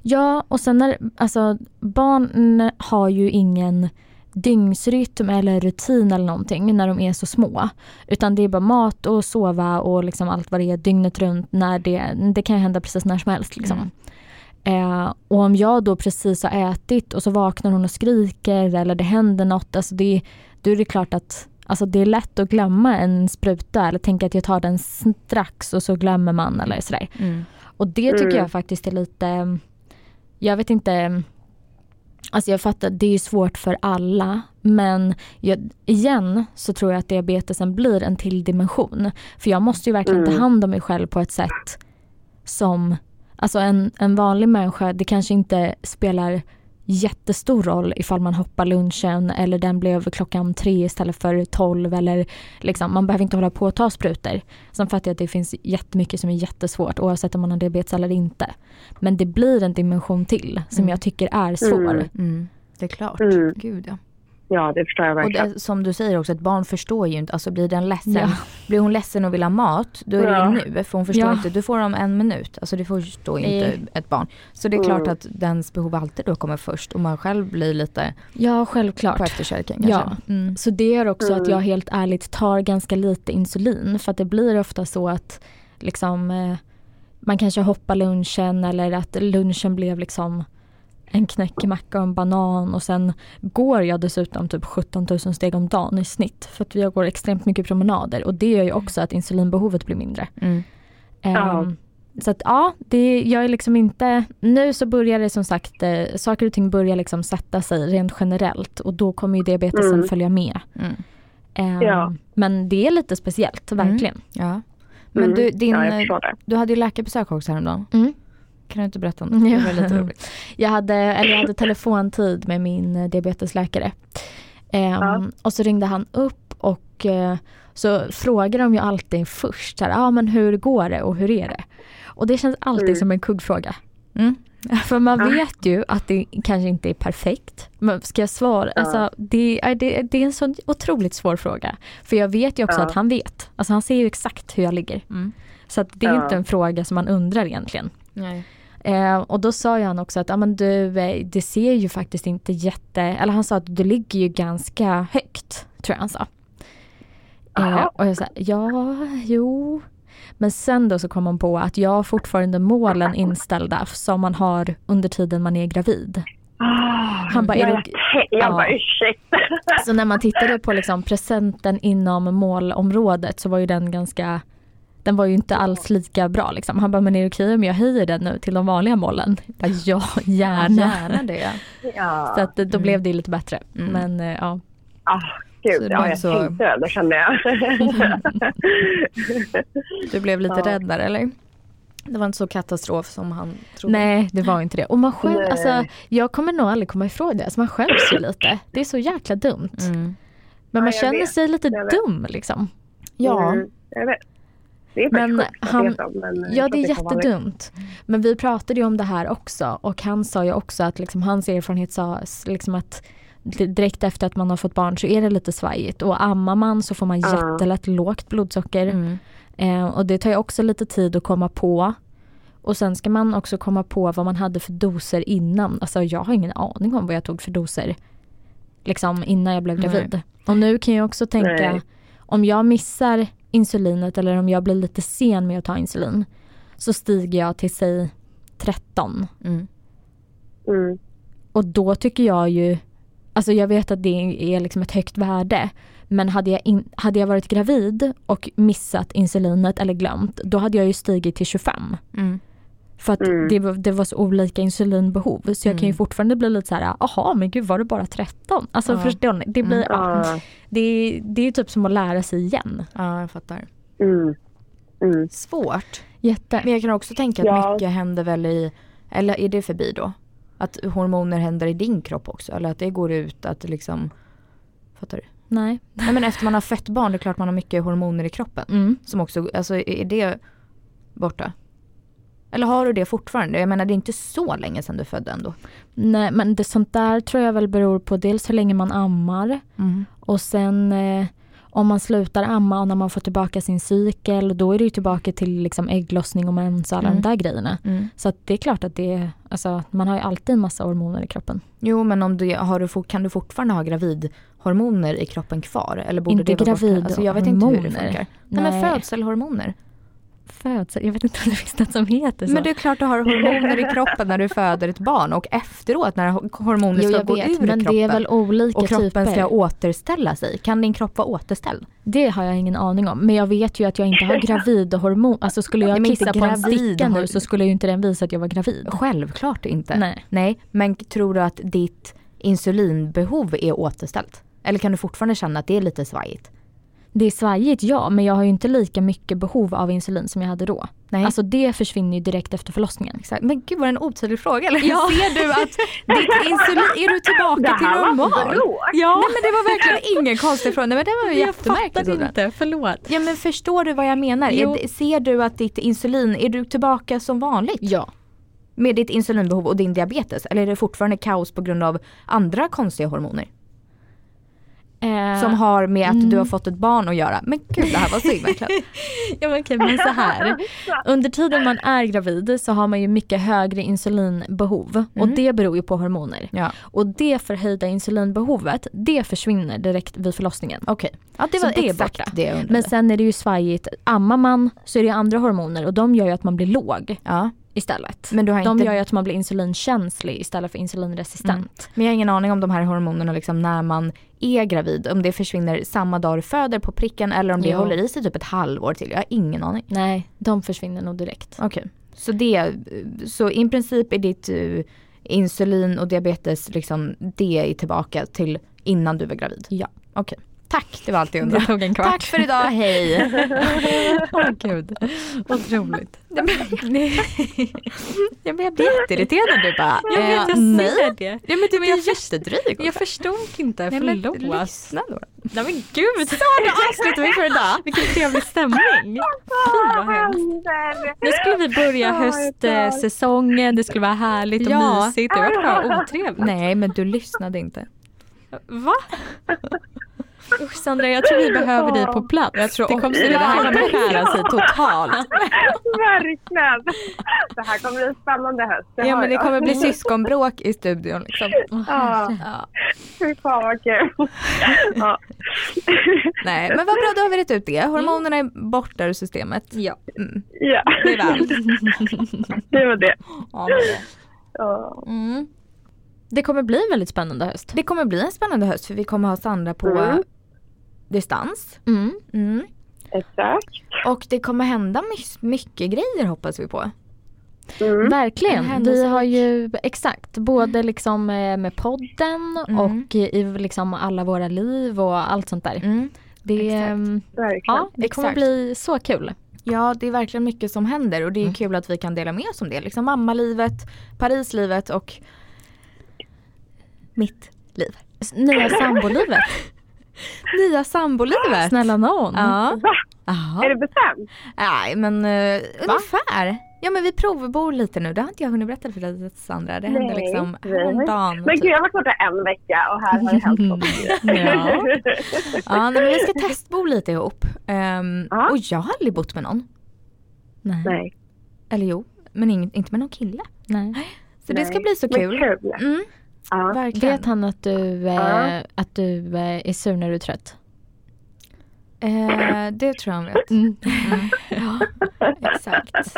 Ja och sen när, alltså barn har ju ingen dygnsrytm eller rutin eller någonting när de är så små. Utan det är bara mat och sova och liksom allt vad det är dygnet runt. När det, det kan ju hända precis när som helst. Liksom.
Mm.
Eh, och om jag då precis har ätit och så vaknar hon och skriker eller det händer något. Alltså det, då är det klart att alltså det är lätt att glömma en spruta eller tänka att jag tar den strax och så glömmer man eller sådär.
Mm.
Och det tycker
Mm.
jag faktiskt är lite, jag vet inte, alltså jag fattar det är ju svårt för alla men jag, igen så tror jag att diabetesen blir en till dimension. För jag måste ju verkligen ta
Mm.
hand om mig själv på ett sätt som, alltså en, en vanlig människa, det kanske inte spelar jättestor roll ifall man hoppar lunchen eller den blev klockan tre istället för tolv eller liksom, man behöver inte hålla på och ta sprutor. Sen fattar jag att det finns jättemycket som är jättesvårt oavsett om man har diabetes eller inte. Men det blir en dimension till som
Mm.
jag tycker är svår.
Mm.
Mm. Det är klart.
Mm.
Gud ja.
Ja, det förstår jag
Och
verkligen.
det, som du säger också, ett barn förstår ju inte. Alltså blir den ledsen,
Ja.
blir hon ledsen och vill ha mat, då är det
Ja.
ju nu. För hon förstår
Ja.
inte, du får om en minut. Alltså det förstår ju inte
Nej.
ett barn. Så det är klart
Mm.
att dens behov alltid då kommer först och man själv blir lite
Ja,
på
självklart.
efterkälken
Ja.
kanske. Mm.
Så det gör också att
Mm.
jag helt ärligt tar ganska lite insulin för att det blir ofta så att liksom, eh, man kanske hoppar lunchen eller att lunchen blev liksom en knäckemacka och en banan och sen går jag dessutom typ 17 000 steg om dagen i snitt för att jag går extremt mycket promenader och det gör ju också att insulinbehovet blir mindre.
Mm.
Ja.
Ehm, Så att ja, det, jag är liksom inte, nu så börjar det som sagt, eh, saker och ting börjar liksom sätta sig rent generellt och då kommer ju diabetesen
Mm.
följa med.
Mm.
Ehm,
Ja.
Men det är lite speciellt,
Mm.
verkligen.
Ja. Men
Mm.
du, din,
Ja, jag förstår det.
du hade ju läkarbesök också häromdagen.
Mm.
Kan du inte berätta om det? Det var lite roligt.
Jag, hade, eller jag hade telefontid med min eh, diabetesläkare. Ehm,
Ja.
Och så ringde han upp och eh, så frågar de ju alltid först, så här, ah, men hur går det och hur är det? Och det känns alltid
Mm.
som en kuggfråga.
Mm.
För man
Ja.
vet ju att det kanske inte är perfekt. Men ska jag svara?
Ja.
Alltså, det, är, det, det är en sån otroligt svår fråga. För jag vet ju också
Ja.
att han vet. Alltså han ser ju exakt hur jag ligger.
Mm.
Så att det är
Ja.
inte en fråga som man undrar egentligen.
Nej.
Eh, och då sa ju han också att ah, men du, eh, det ser ju faktiskt inte jätte... Eller han sa att du ligger ju ganska högt, tror jag han sa. Eh,
Jaha.
och jag sa ja, jo. Men sen då så kom han på att jag har fortfarande målen inställda som man har under tiden man är gravid.
Ah,
Han bara, är
jag,
det,
te- jag
Ja.
bara, ursäkta.
så när man tittade på liksom presenten inom målområdet så var ju den ganska den var ju inte alls lika bra. Liksom. Han bara, men är det okej om jag höjer den nu till de vanliga målen? Jag bara, ja, gärna.
Gärna det.
Ja.
Så att, då blev det ju lite bättre.
Mm.
Men eh, ja.
ah,
Så
gud,
det
ja,
var
jag
så-
tänkte det. Då kände jag.
Du blev lite
Ja.
rädd där eller? Det var inte så katastrof som han trodde.
Nej, det var inte det. Och man själv,
Nej.
alltså, jag kommer nog aldrig komma ifrån det. Alltså, man skäms ju lite. Det är så jäkla dumt.
Mm.
Men
Ja,
man
jag
känner
vet.
sig lite
Jag vet.
dum liksom.
Ja.
Mm, jag vet. Det är
Men
faktiskt sjukt att
han-
det är så, men jag
Ja,
tror
det är
så vanligt.
jättedumt. Men vi pratade ju om det här också och han sa ju också att liksom, hans erfarenhet sa s- liksom att di- direkt efter att man har fått barn så är det lite svajigt och ammar man så får man
Ja.
jättelätt lågt blodsocker.
Mm.
Eh, och det tar ju också lite tid att komma på. Och sen ska man också komma på vad man hade för doser innan. Alltså jag har ingen aning om vad jag tog för doser. Liksom innan jag blev
Nej.
gravid. Och nu kan jag också tänka
Nej.
om jag missar insulinet eller om jag blir lite sen med att ta insulin. Så stiger jag till säg 13.
Mm.
Mm.
Och då tycker jag ju Alltså jag vet att det är liksom ett högt värde. Men hade jag, in, hade jag varit gravid och missat insulinet eller glömt, då hade jag ju stigit till 25.
Mm.
För att
Mm.
det, var- det var så olika insulinbehov. Så jag kan ju fortfarande bli lite så här, jaha men gud var det bara 13? Alltså
Ja.
förstår ni? Det, blir, ja,
Mm. Ja.
det, är- det är ju typ som att lära sig igen.
Ja, jag fattar.
Mm. Mm.
Svårt.
Jätte.
Men jag kan också tänka att
Ja.
mycket händer väl i, eller är det förbi då? Att hormoner händer i din kropp också? Eller att det går ut att liksom, fattar du?
Nej.
Nej men efter man har fött barn, det är klart man har mycket hormoner i kroppen.
Mm.
Som också, alltså är det borta? Eller har du det fortfarande? Jag menar det är inte så länge sedan du födde ändå.
Nej men det sånt där tror jag väl beror på dels hur länge man ammar och sen eh, om man slutar amma och när man får tillbaka sin cykel då är det ju tillbaka till liksom ägglossning och mens och alla
Mm.
de där grejerna.
Mm.
Så att det är klart att det är, alltså, man har ju alltid en massa hormoner i kroppen.
Jo men om du, har du, for- kan du fortfarande ha gravidhormoner i kroppen kvar? Eller borde
Inte
det vara borta? Alltså jag vet inte hur det
gravidhormoner.
funkar. Nej, men
Nej.
födselhormoner.
Födsel, jag vet inte om det finns något som heter så.
Men det är klart du har hormoner i kroppen när du föder ett barn och efteråt när ho- hormoner
jo,
ska
jag
gå
vet,
ur
men
kroppen.
det är väl olika
och kroppen
typer.
ska återställa sig. Kan din kropp vara återställd?
Det har jag ingen aning om. Men jag vet ju att jag inte har gravidhormon. Alltså skulle
Nej,
jag
men inte
kissa på en
gravid
sticka
har-
nu så skulle ju inte den visa att jag var gravid.
Självklart inte.
Nej.
men tror du att ditt insulinbehov är återställt? Eller kan du fortfarande känna att det är lite svajigt?
Det är svajigt ja, men jag har ju inte lika mycket behov av insulin som jag hade då.
Nej.
Alltså det försvinner ju direkt efter förlossningen. liksom.
Exakt. Men gud var det en otydlig fråga eller? Ser du att ditt insulin, är du
Det
tillbaka till
här var
normal?
bråk.
Ja,
Nej men det var verkligen ingen konstig fråga. Nej, men det var ju jättemärkligt. Sandra.
förlåt.
Ja men förstår du vad jag menar?
Jo.
Är, ser du att ditt insulin, är du tillbaka som vanligt?
Ja.
Med ditt insulinbehov och din diabetes? Eller är det fortfarande kaos på grund av andra konstiga hormoner?
Eh,
Som har med att du
Mm.
har fått ett barn att göra. Men gud det här var så invecklat.
Ja men okej, men så här. Under tiden man är gravid så har man ju mycket högre insulinbehov och det beror ju på hormoner.
ja.
Och det förhöjda insulinbehovet, det försvinner direkt vid förlossningen.
Okej. Ja det
Så
var
det är
exakt
borta.
det jag undrade.
Men sen är det ju svajigt, ammar man så är det ju andra hormoner och de gör ju att man blir låg
ja.
istället.
Men du har
de
inte-
gör ju att man blir insulinkänslig istället för insulinresistent.
Men jag har ingen aning om de här hormonerna liksom när man är gravid. Om det försvinner samma dag du föder på pricken eller om det
Ja.
håller i sig typ ett halvår till. Jag har ingen aning.
Nej, de försvinner nog direkt.
Okej. Så det, så i princip är ditt eh, insulin och diabetes liksom, det är tillbaka till innan du var gravid?
Ja.
Okej. Tack, det var allt jag
Det
undrade.
tog en kvart.
Tack för idag, hej!
Åh gud, otroligt.
jag blir jag blir jätteirriterad när du bara,
Jag vet, jag
nej.
ser det.
Ja men du
Men
är
jag
jättedryg
Jag förstod inte,
Nej men
förlåt.
lyssna då.
Nej men gud! Så, då avslutar vi för idag. Vilken trevlig stämning. Fy vad hemskt. Nu skulle vi börja eh,
Oh my
höstsäsongen, det skulle vara härligt och
Ja.
mysigt. Det var bara otrevligt.
Nej men du lyssnade inte.
Va? Usch Sandra, jag tror vi behöver dig på plats. Jag tror det, kommer, det här kommer skära sig totalt.
Verkligen. Det här kommer bli en spännande höst.
Ja
hör
men det
jag.
kommer bli syskonbråk i studion liksom.
Ja,
Ja.
fy fan vad kul. Ja.
Nej men vad bra, då har vi rätt ut det. Hormonerna är borta ur systemet.
Ja.
Mm.
ja,
Det är väl.
det var det.
Ja, men det-
Ja.
Mm.
det kommer bli en väldigt spännande höst.
Det kommer bli en spännande höst för vi kommer ha Sandra på
Mm.
distans.
Mm.
Mm.
Exakt.
Och det kommer hända my- mycket grejer hoppas vi på.
Mm.
En
Verkligen. Vi
händelserik.
har ju exakt både liksom eh, med podden
Mm.
och i liksom alla våra liv och allt sånt där.
Mm.
Det,
Exakt.
ehm,
Verkligen.
ja, det kommer
Exakt.
bli så kul.
Ja det är verkligen mycket som händer och det är kul att vi kan dela med oss om det. Liksom mammalivet, Parislivet och mitt liv.
S- Nya sambolivet.
Nya sambolivet.
Snälla nån.
Ja.
Va? Är
Jaha.
det bestämt?
Nej men eh, ungefär. Ja men vi provbor lite nu. Det har inte jag hunnit berätta för dig Sandra. Det hände
Nej,
liksom
nej.
häromdagen.
Men
typ.
gud, jag har varit borta en vecka och här har det hänt något.
Ja. Ja, nej, men vi ska testbo lite ihop. Ehm,
Ja.
Och jag har aldrig bott med någon.
Nej. Nej.
Nej.
Eller jo, men ing- inte med någon kille. Så det ska
Nej.
bli så
Men
kul.
kul.
Mm,
Ja.
verkligen.
Vet han att du, eh,
Ja.
att du eh, är sur när du är trött?
Eh, det tror jag han vet. Ja, exakt.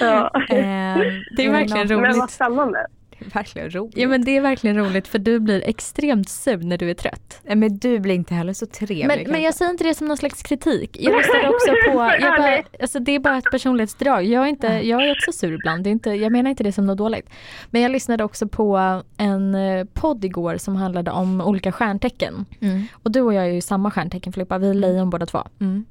Ja.
Ehm,
Det är verkligen
någon-
roligt.
Men vad spännande.
Det är verkligen roligt.
Ja men det är verkligen roligt för du blir extremt sur när du är trött.
Nej, men du blir inte heller så trevlig.
Men, men jag säger inte det som någon slags kritik. Jag lyssnade också på, jag bara, alltså det är bara ett personlighetsdrag. Jag är, inte, jag är också sur ibland, det är inte, jag menar inte det som något dåligt. Men jag lyssnade också på en eh, podd igår som handlade om olika stjärntecken.
Mm.
Och du och jag är ju samma stjärntecken Filippa, vi är lejon båda två.
Mm.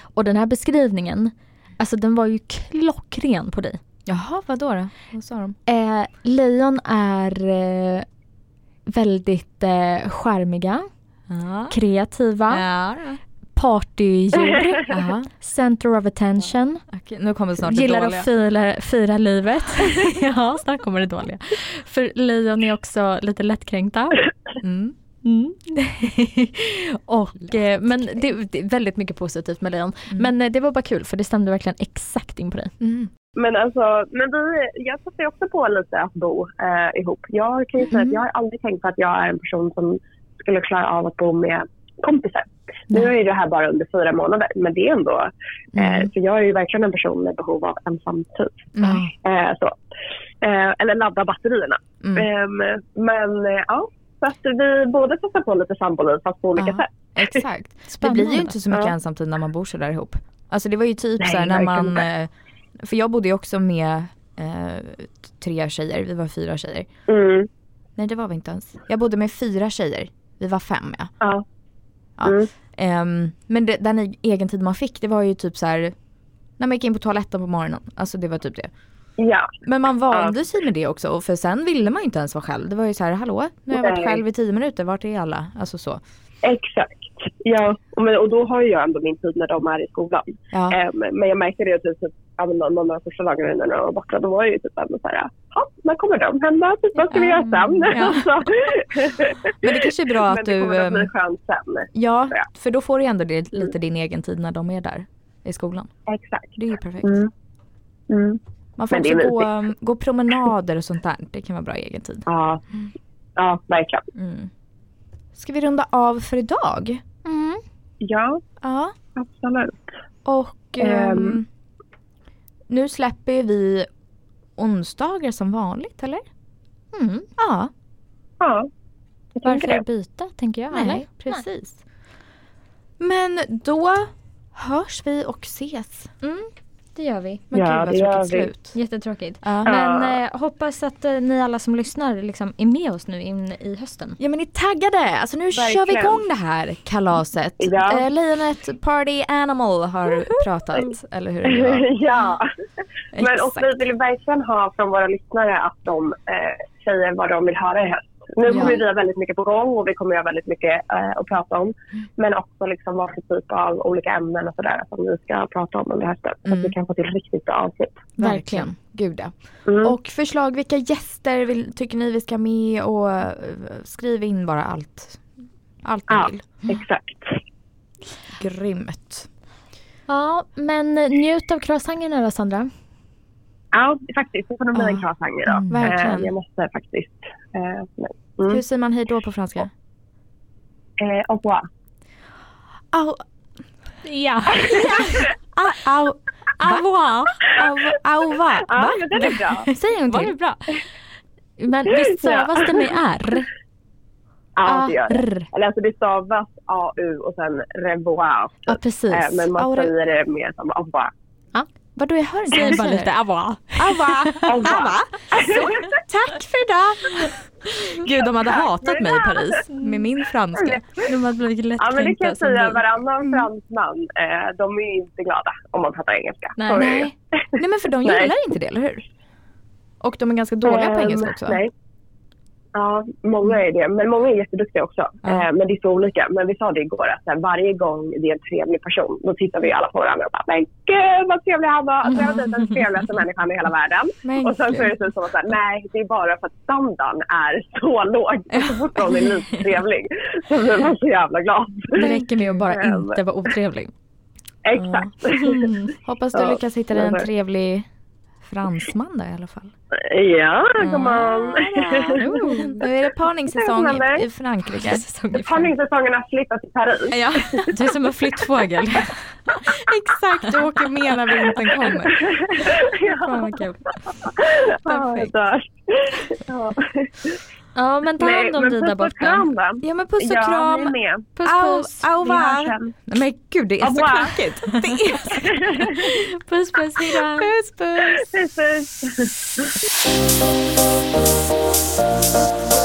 Och den här beskrivningen, alltså den var ju klockren på dig.
Jaha, vad då, då? Vad sa de?
Eh, lejon är eh, väldigt eh, skärmiga,
Ja.
kreativa,
Ja.
partydjur,
Aha.
center of attention,
Okej, nu kommer snart
gillar
det
att
dåliga.
fira, fira livet. ja, snart kommer det dåliga. För lejon är också lite lättkränkta.
Mm.
Mm. och, eh, men det, det är väldigt mycket positivt med lejon.
Mm.
Men eh, det var bara kul för det stämde verkligen exakt in på dig.
Mm.
Men alltså, men vi, jag satte ju också på lite att bo eh, ihop. Jag kan ju säga
Mm.
Mhm.
att jag har aldrig tänkt på att jag är en person som skulle klara av att bo med kompisar. Nu
Nej.
är ju det här bara under fyra månader, men det är ändå...
Mhm.
Eh, för jag är ju verkligen en person med behov av ensamtid.
Mm.
Eh, så. Eh, eller ladda batterierna.
Mm.
Eh, men eh, ja, så att vi båda testar på lite samboliv fast på olika
Ja.
sätt.
Exakt. Det
Spännande.
blir ju inte så mycket
Ja.
ensamtid när man bor så där ihop. Alltså det var ju typ
Nej,
så här när
verkligen
man, eh, för jag bodde ju också med eh, tre tjejer, vi var fyra tjejer.
Mm,
Nej det var vi inte ens. Jag bodde med fyra tjejer, vi var fem ja.
ja.
Ja.
Mm.
Ehm, men det, den e- egen tid man fick det var ju typ så här när man gick in på toaletten på morgonen. Alltså det var typ det.
ja.
Men man vande sig med det också och för sen ville man ju inte ens vara själv. Det var ju så här, hallå nu har jag varit
Nej.
själv i tio minuter, vart är alla? Alltså så.
Exakt. Ja, och, men, och då har ju jag ändå min tid när de är i skolan.
Ja.
Eh, men- men jag märkte det typ, typ ja, men någon någon av de första dagarna när de var borta. Då var jag ju typ ändå så här, ja, när kommer de hemma? Typ, vad ska vi göra sen?
Mm, ja.
Alltså.
Men det kanske är bra
men
att
det
du
kommer att bli
ehm,
skönt sen.
Ja,
Ja. Mm.
för då får du ändå det, lite din egen tid när de är där i skolan.
Exakt.
Det är ju perfekt.
Mm. Mm.
Man får
Men det
också
är
gå, um, gå promenader och sånt där. Det kan vara bra egen tid.
Ja. ja, verkligen.
Mm. Ska vi runda av för idag?
Mm.
Ja,
Ja.
absolut.
Och
Ehm.
ehm, nu släpper ju vi onsdagar som vanligt, eller?
Mm.
Ja,
Ja, jag tänker
Varför
det.
byta tänker jag. eller?
nej, precis. Men då hörs vi och ses.
Mm, det gör vi.
Men
Ja,
gud
det
vad
gör
tråkigt
vi.
slut.
Jättetråkigt.
Ja.
Men eh, hoppas att eh, ni alla som lyssnar liksom, är med oss nu in i hösten.
Ja men ni är taggade! Alltså nu kör vi
Verkligen.
igång det här kalaset.
Ja.
Eh, Lejonet Party Animal har pratat, eller hur? det var.
ja, men och
Mm. Exakt.
vi vill verkligen ha från våra lyssnare att de eh, säger vad de vill höra i höst. Nu kommer
Ja.
vi ha väldigt mycket på gång och vi kommer ha väldigt mycket eh, att prata om.
Mm.
Men också liksom vad för typ av olika ämnen och sådär som vi ska prata om under hösten. Så
Mm.
att vi kan få till riktigt bra avsnitt.
Verkligen. Gud ja.
Mm.
Och förslag, vilka gäster vill, tycker ni vi ska med och eh, skriv in bara allt. Allt ni
Ja.
vill.
Exakt.
Grymt.
Ja, men eh, njut av croissangerna då Sandra.
Ja, faktiskt. Det får nog bli
Ja.
en croissange idag.
Mm,
verkligen.
Eh, jag måste faktiskt. Eh, men,
Hur
mm.
säger man hej då på franska?
eh, au revoir.
Au,
Ja.
au, au, au, au, au, va?
Ja,
Va?
men den är bra.
Säg en
Var det
till.
bra? Men visst stavas det med R?
Ja, det
Ah,
gör det.
Arr.
Eller alltså det stavas AU och sen revoir.
Ja, precis.
Eh, men man
Au revoir.
säger det mer som au revoir.
Vadå jag hör inte. vad
Säg
du
bara
säger.
lite avoa.
Au, va?
Au revoir.
Anna, alltså, tack för idag! Gud, de hade hatat mig i Paris med min franska.
De hade blivit
Ja, men det kan
lättkränkta
jag
som
säga.
du.
Varannan fransman, eh, de är ju inte glada om man pratar engelska.
Nej.
Så är det ju.
Nej. Nej men för de
Nej.
gillar inte det, eller hur? Och de är ganska dåliga på
Ehm,
engelska också.
Nej. Ja, många är det. Men många är jätteduktiga också.
Ja.
Eh, men det är så olika. Men vi sa det igår att så här, varje gång det är en trevlig person, då tittar vi alla på varandra och bara “men gud vad trevlig han var”. Alltså, jag har dejtat den trevligaste människan i hela världen.
Men
Och sen så är det typ som att så här, nej, det är bara för att standarden är så låg. Och Så fort någon är lite trevlig så blir man så jävla glad.
Det räcker med att bara
Ehm.
inte vara otrevlig.
Exakt.
Hoppas du
Ja,
lyckas hitta dig en
men-
trevlig fransman där i alla fall.
Ja, gumman.
Nu är det parningssäsong i- i
Det
Frankrike.
är säsong i fram.
Parningssäsongen har flyttat till Paris.
Ja,
Du är som en flyttfågel.
exakt. Du åker med när vintern kommer.
Ja,
Fan vad kul.
ja, jag
Perfekt.
dör. Ja.
Ja men ta hand om dig där
puss och
borta.
kram då.
Ja men puss och
ja,
kram.
ni med.
Puss
Au,
puss.
Vi
auva.
hörs sen.
Nej, men gud det är så
Au revoir.
knäckigt. Det är så...
Puss puss, hejdå.
Puss puss.
Puss, puss.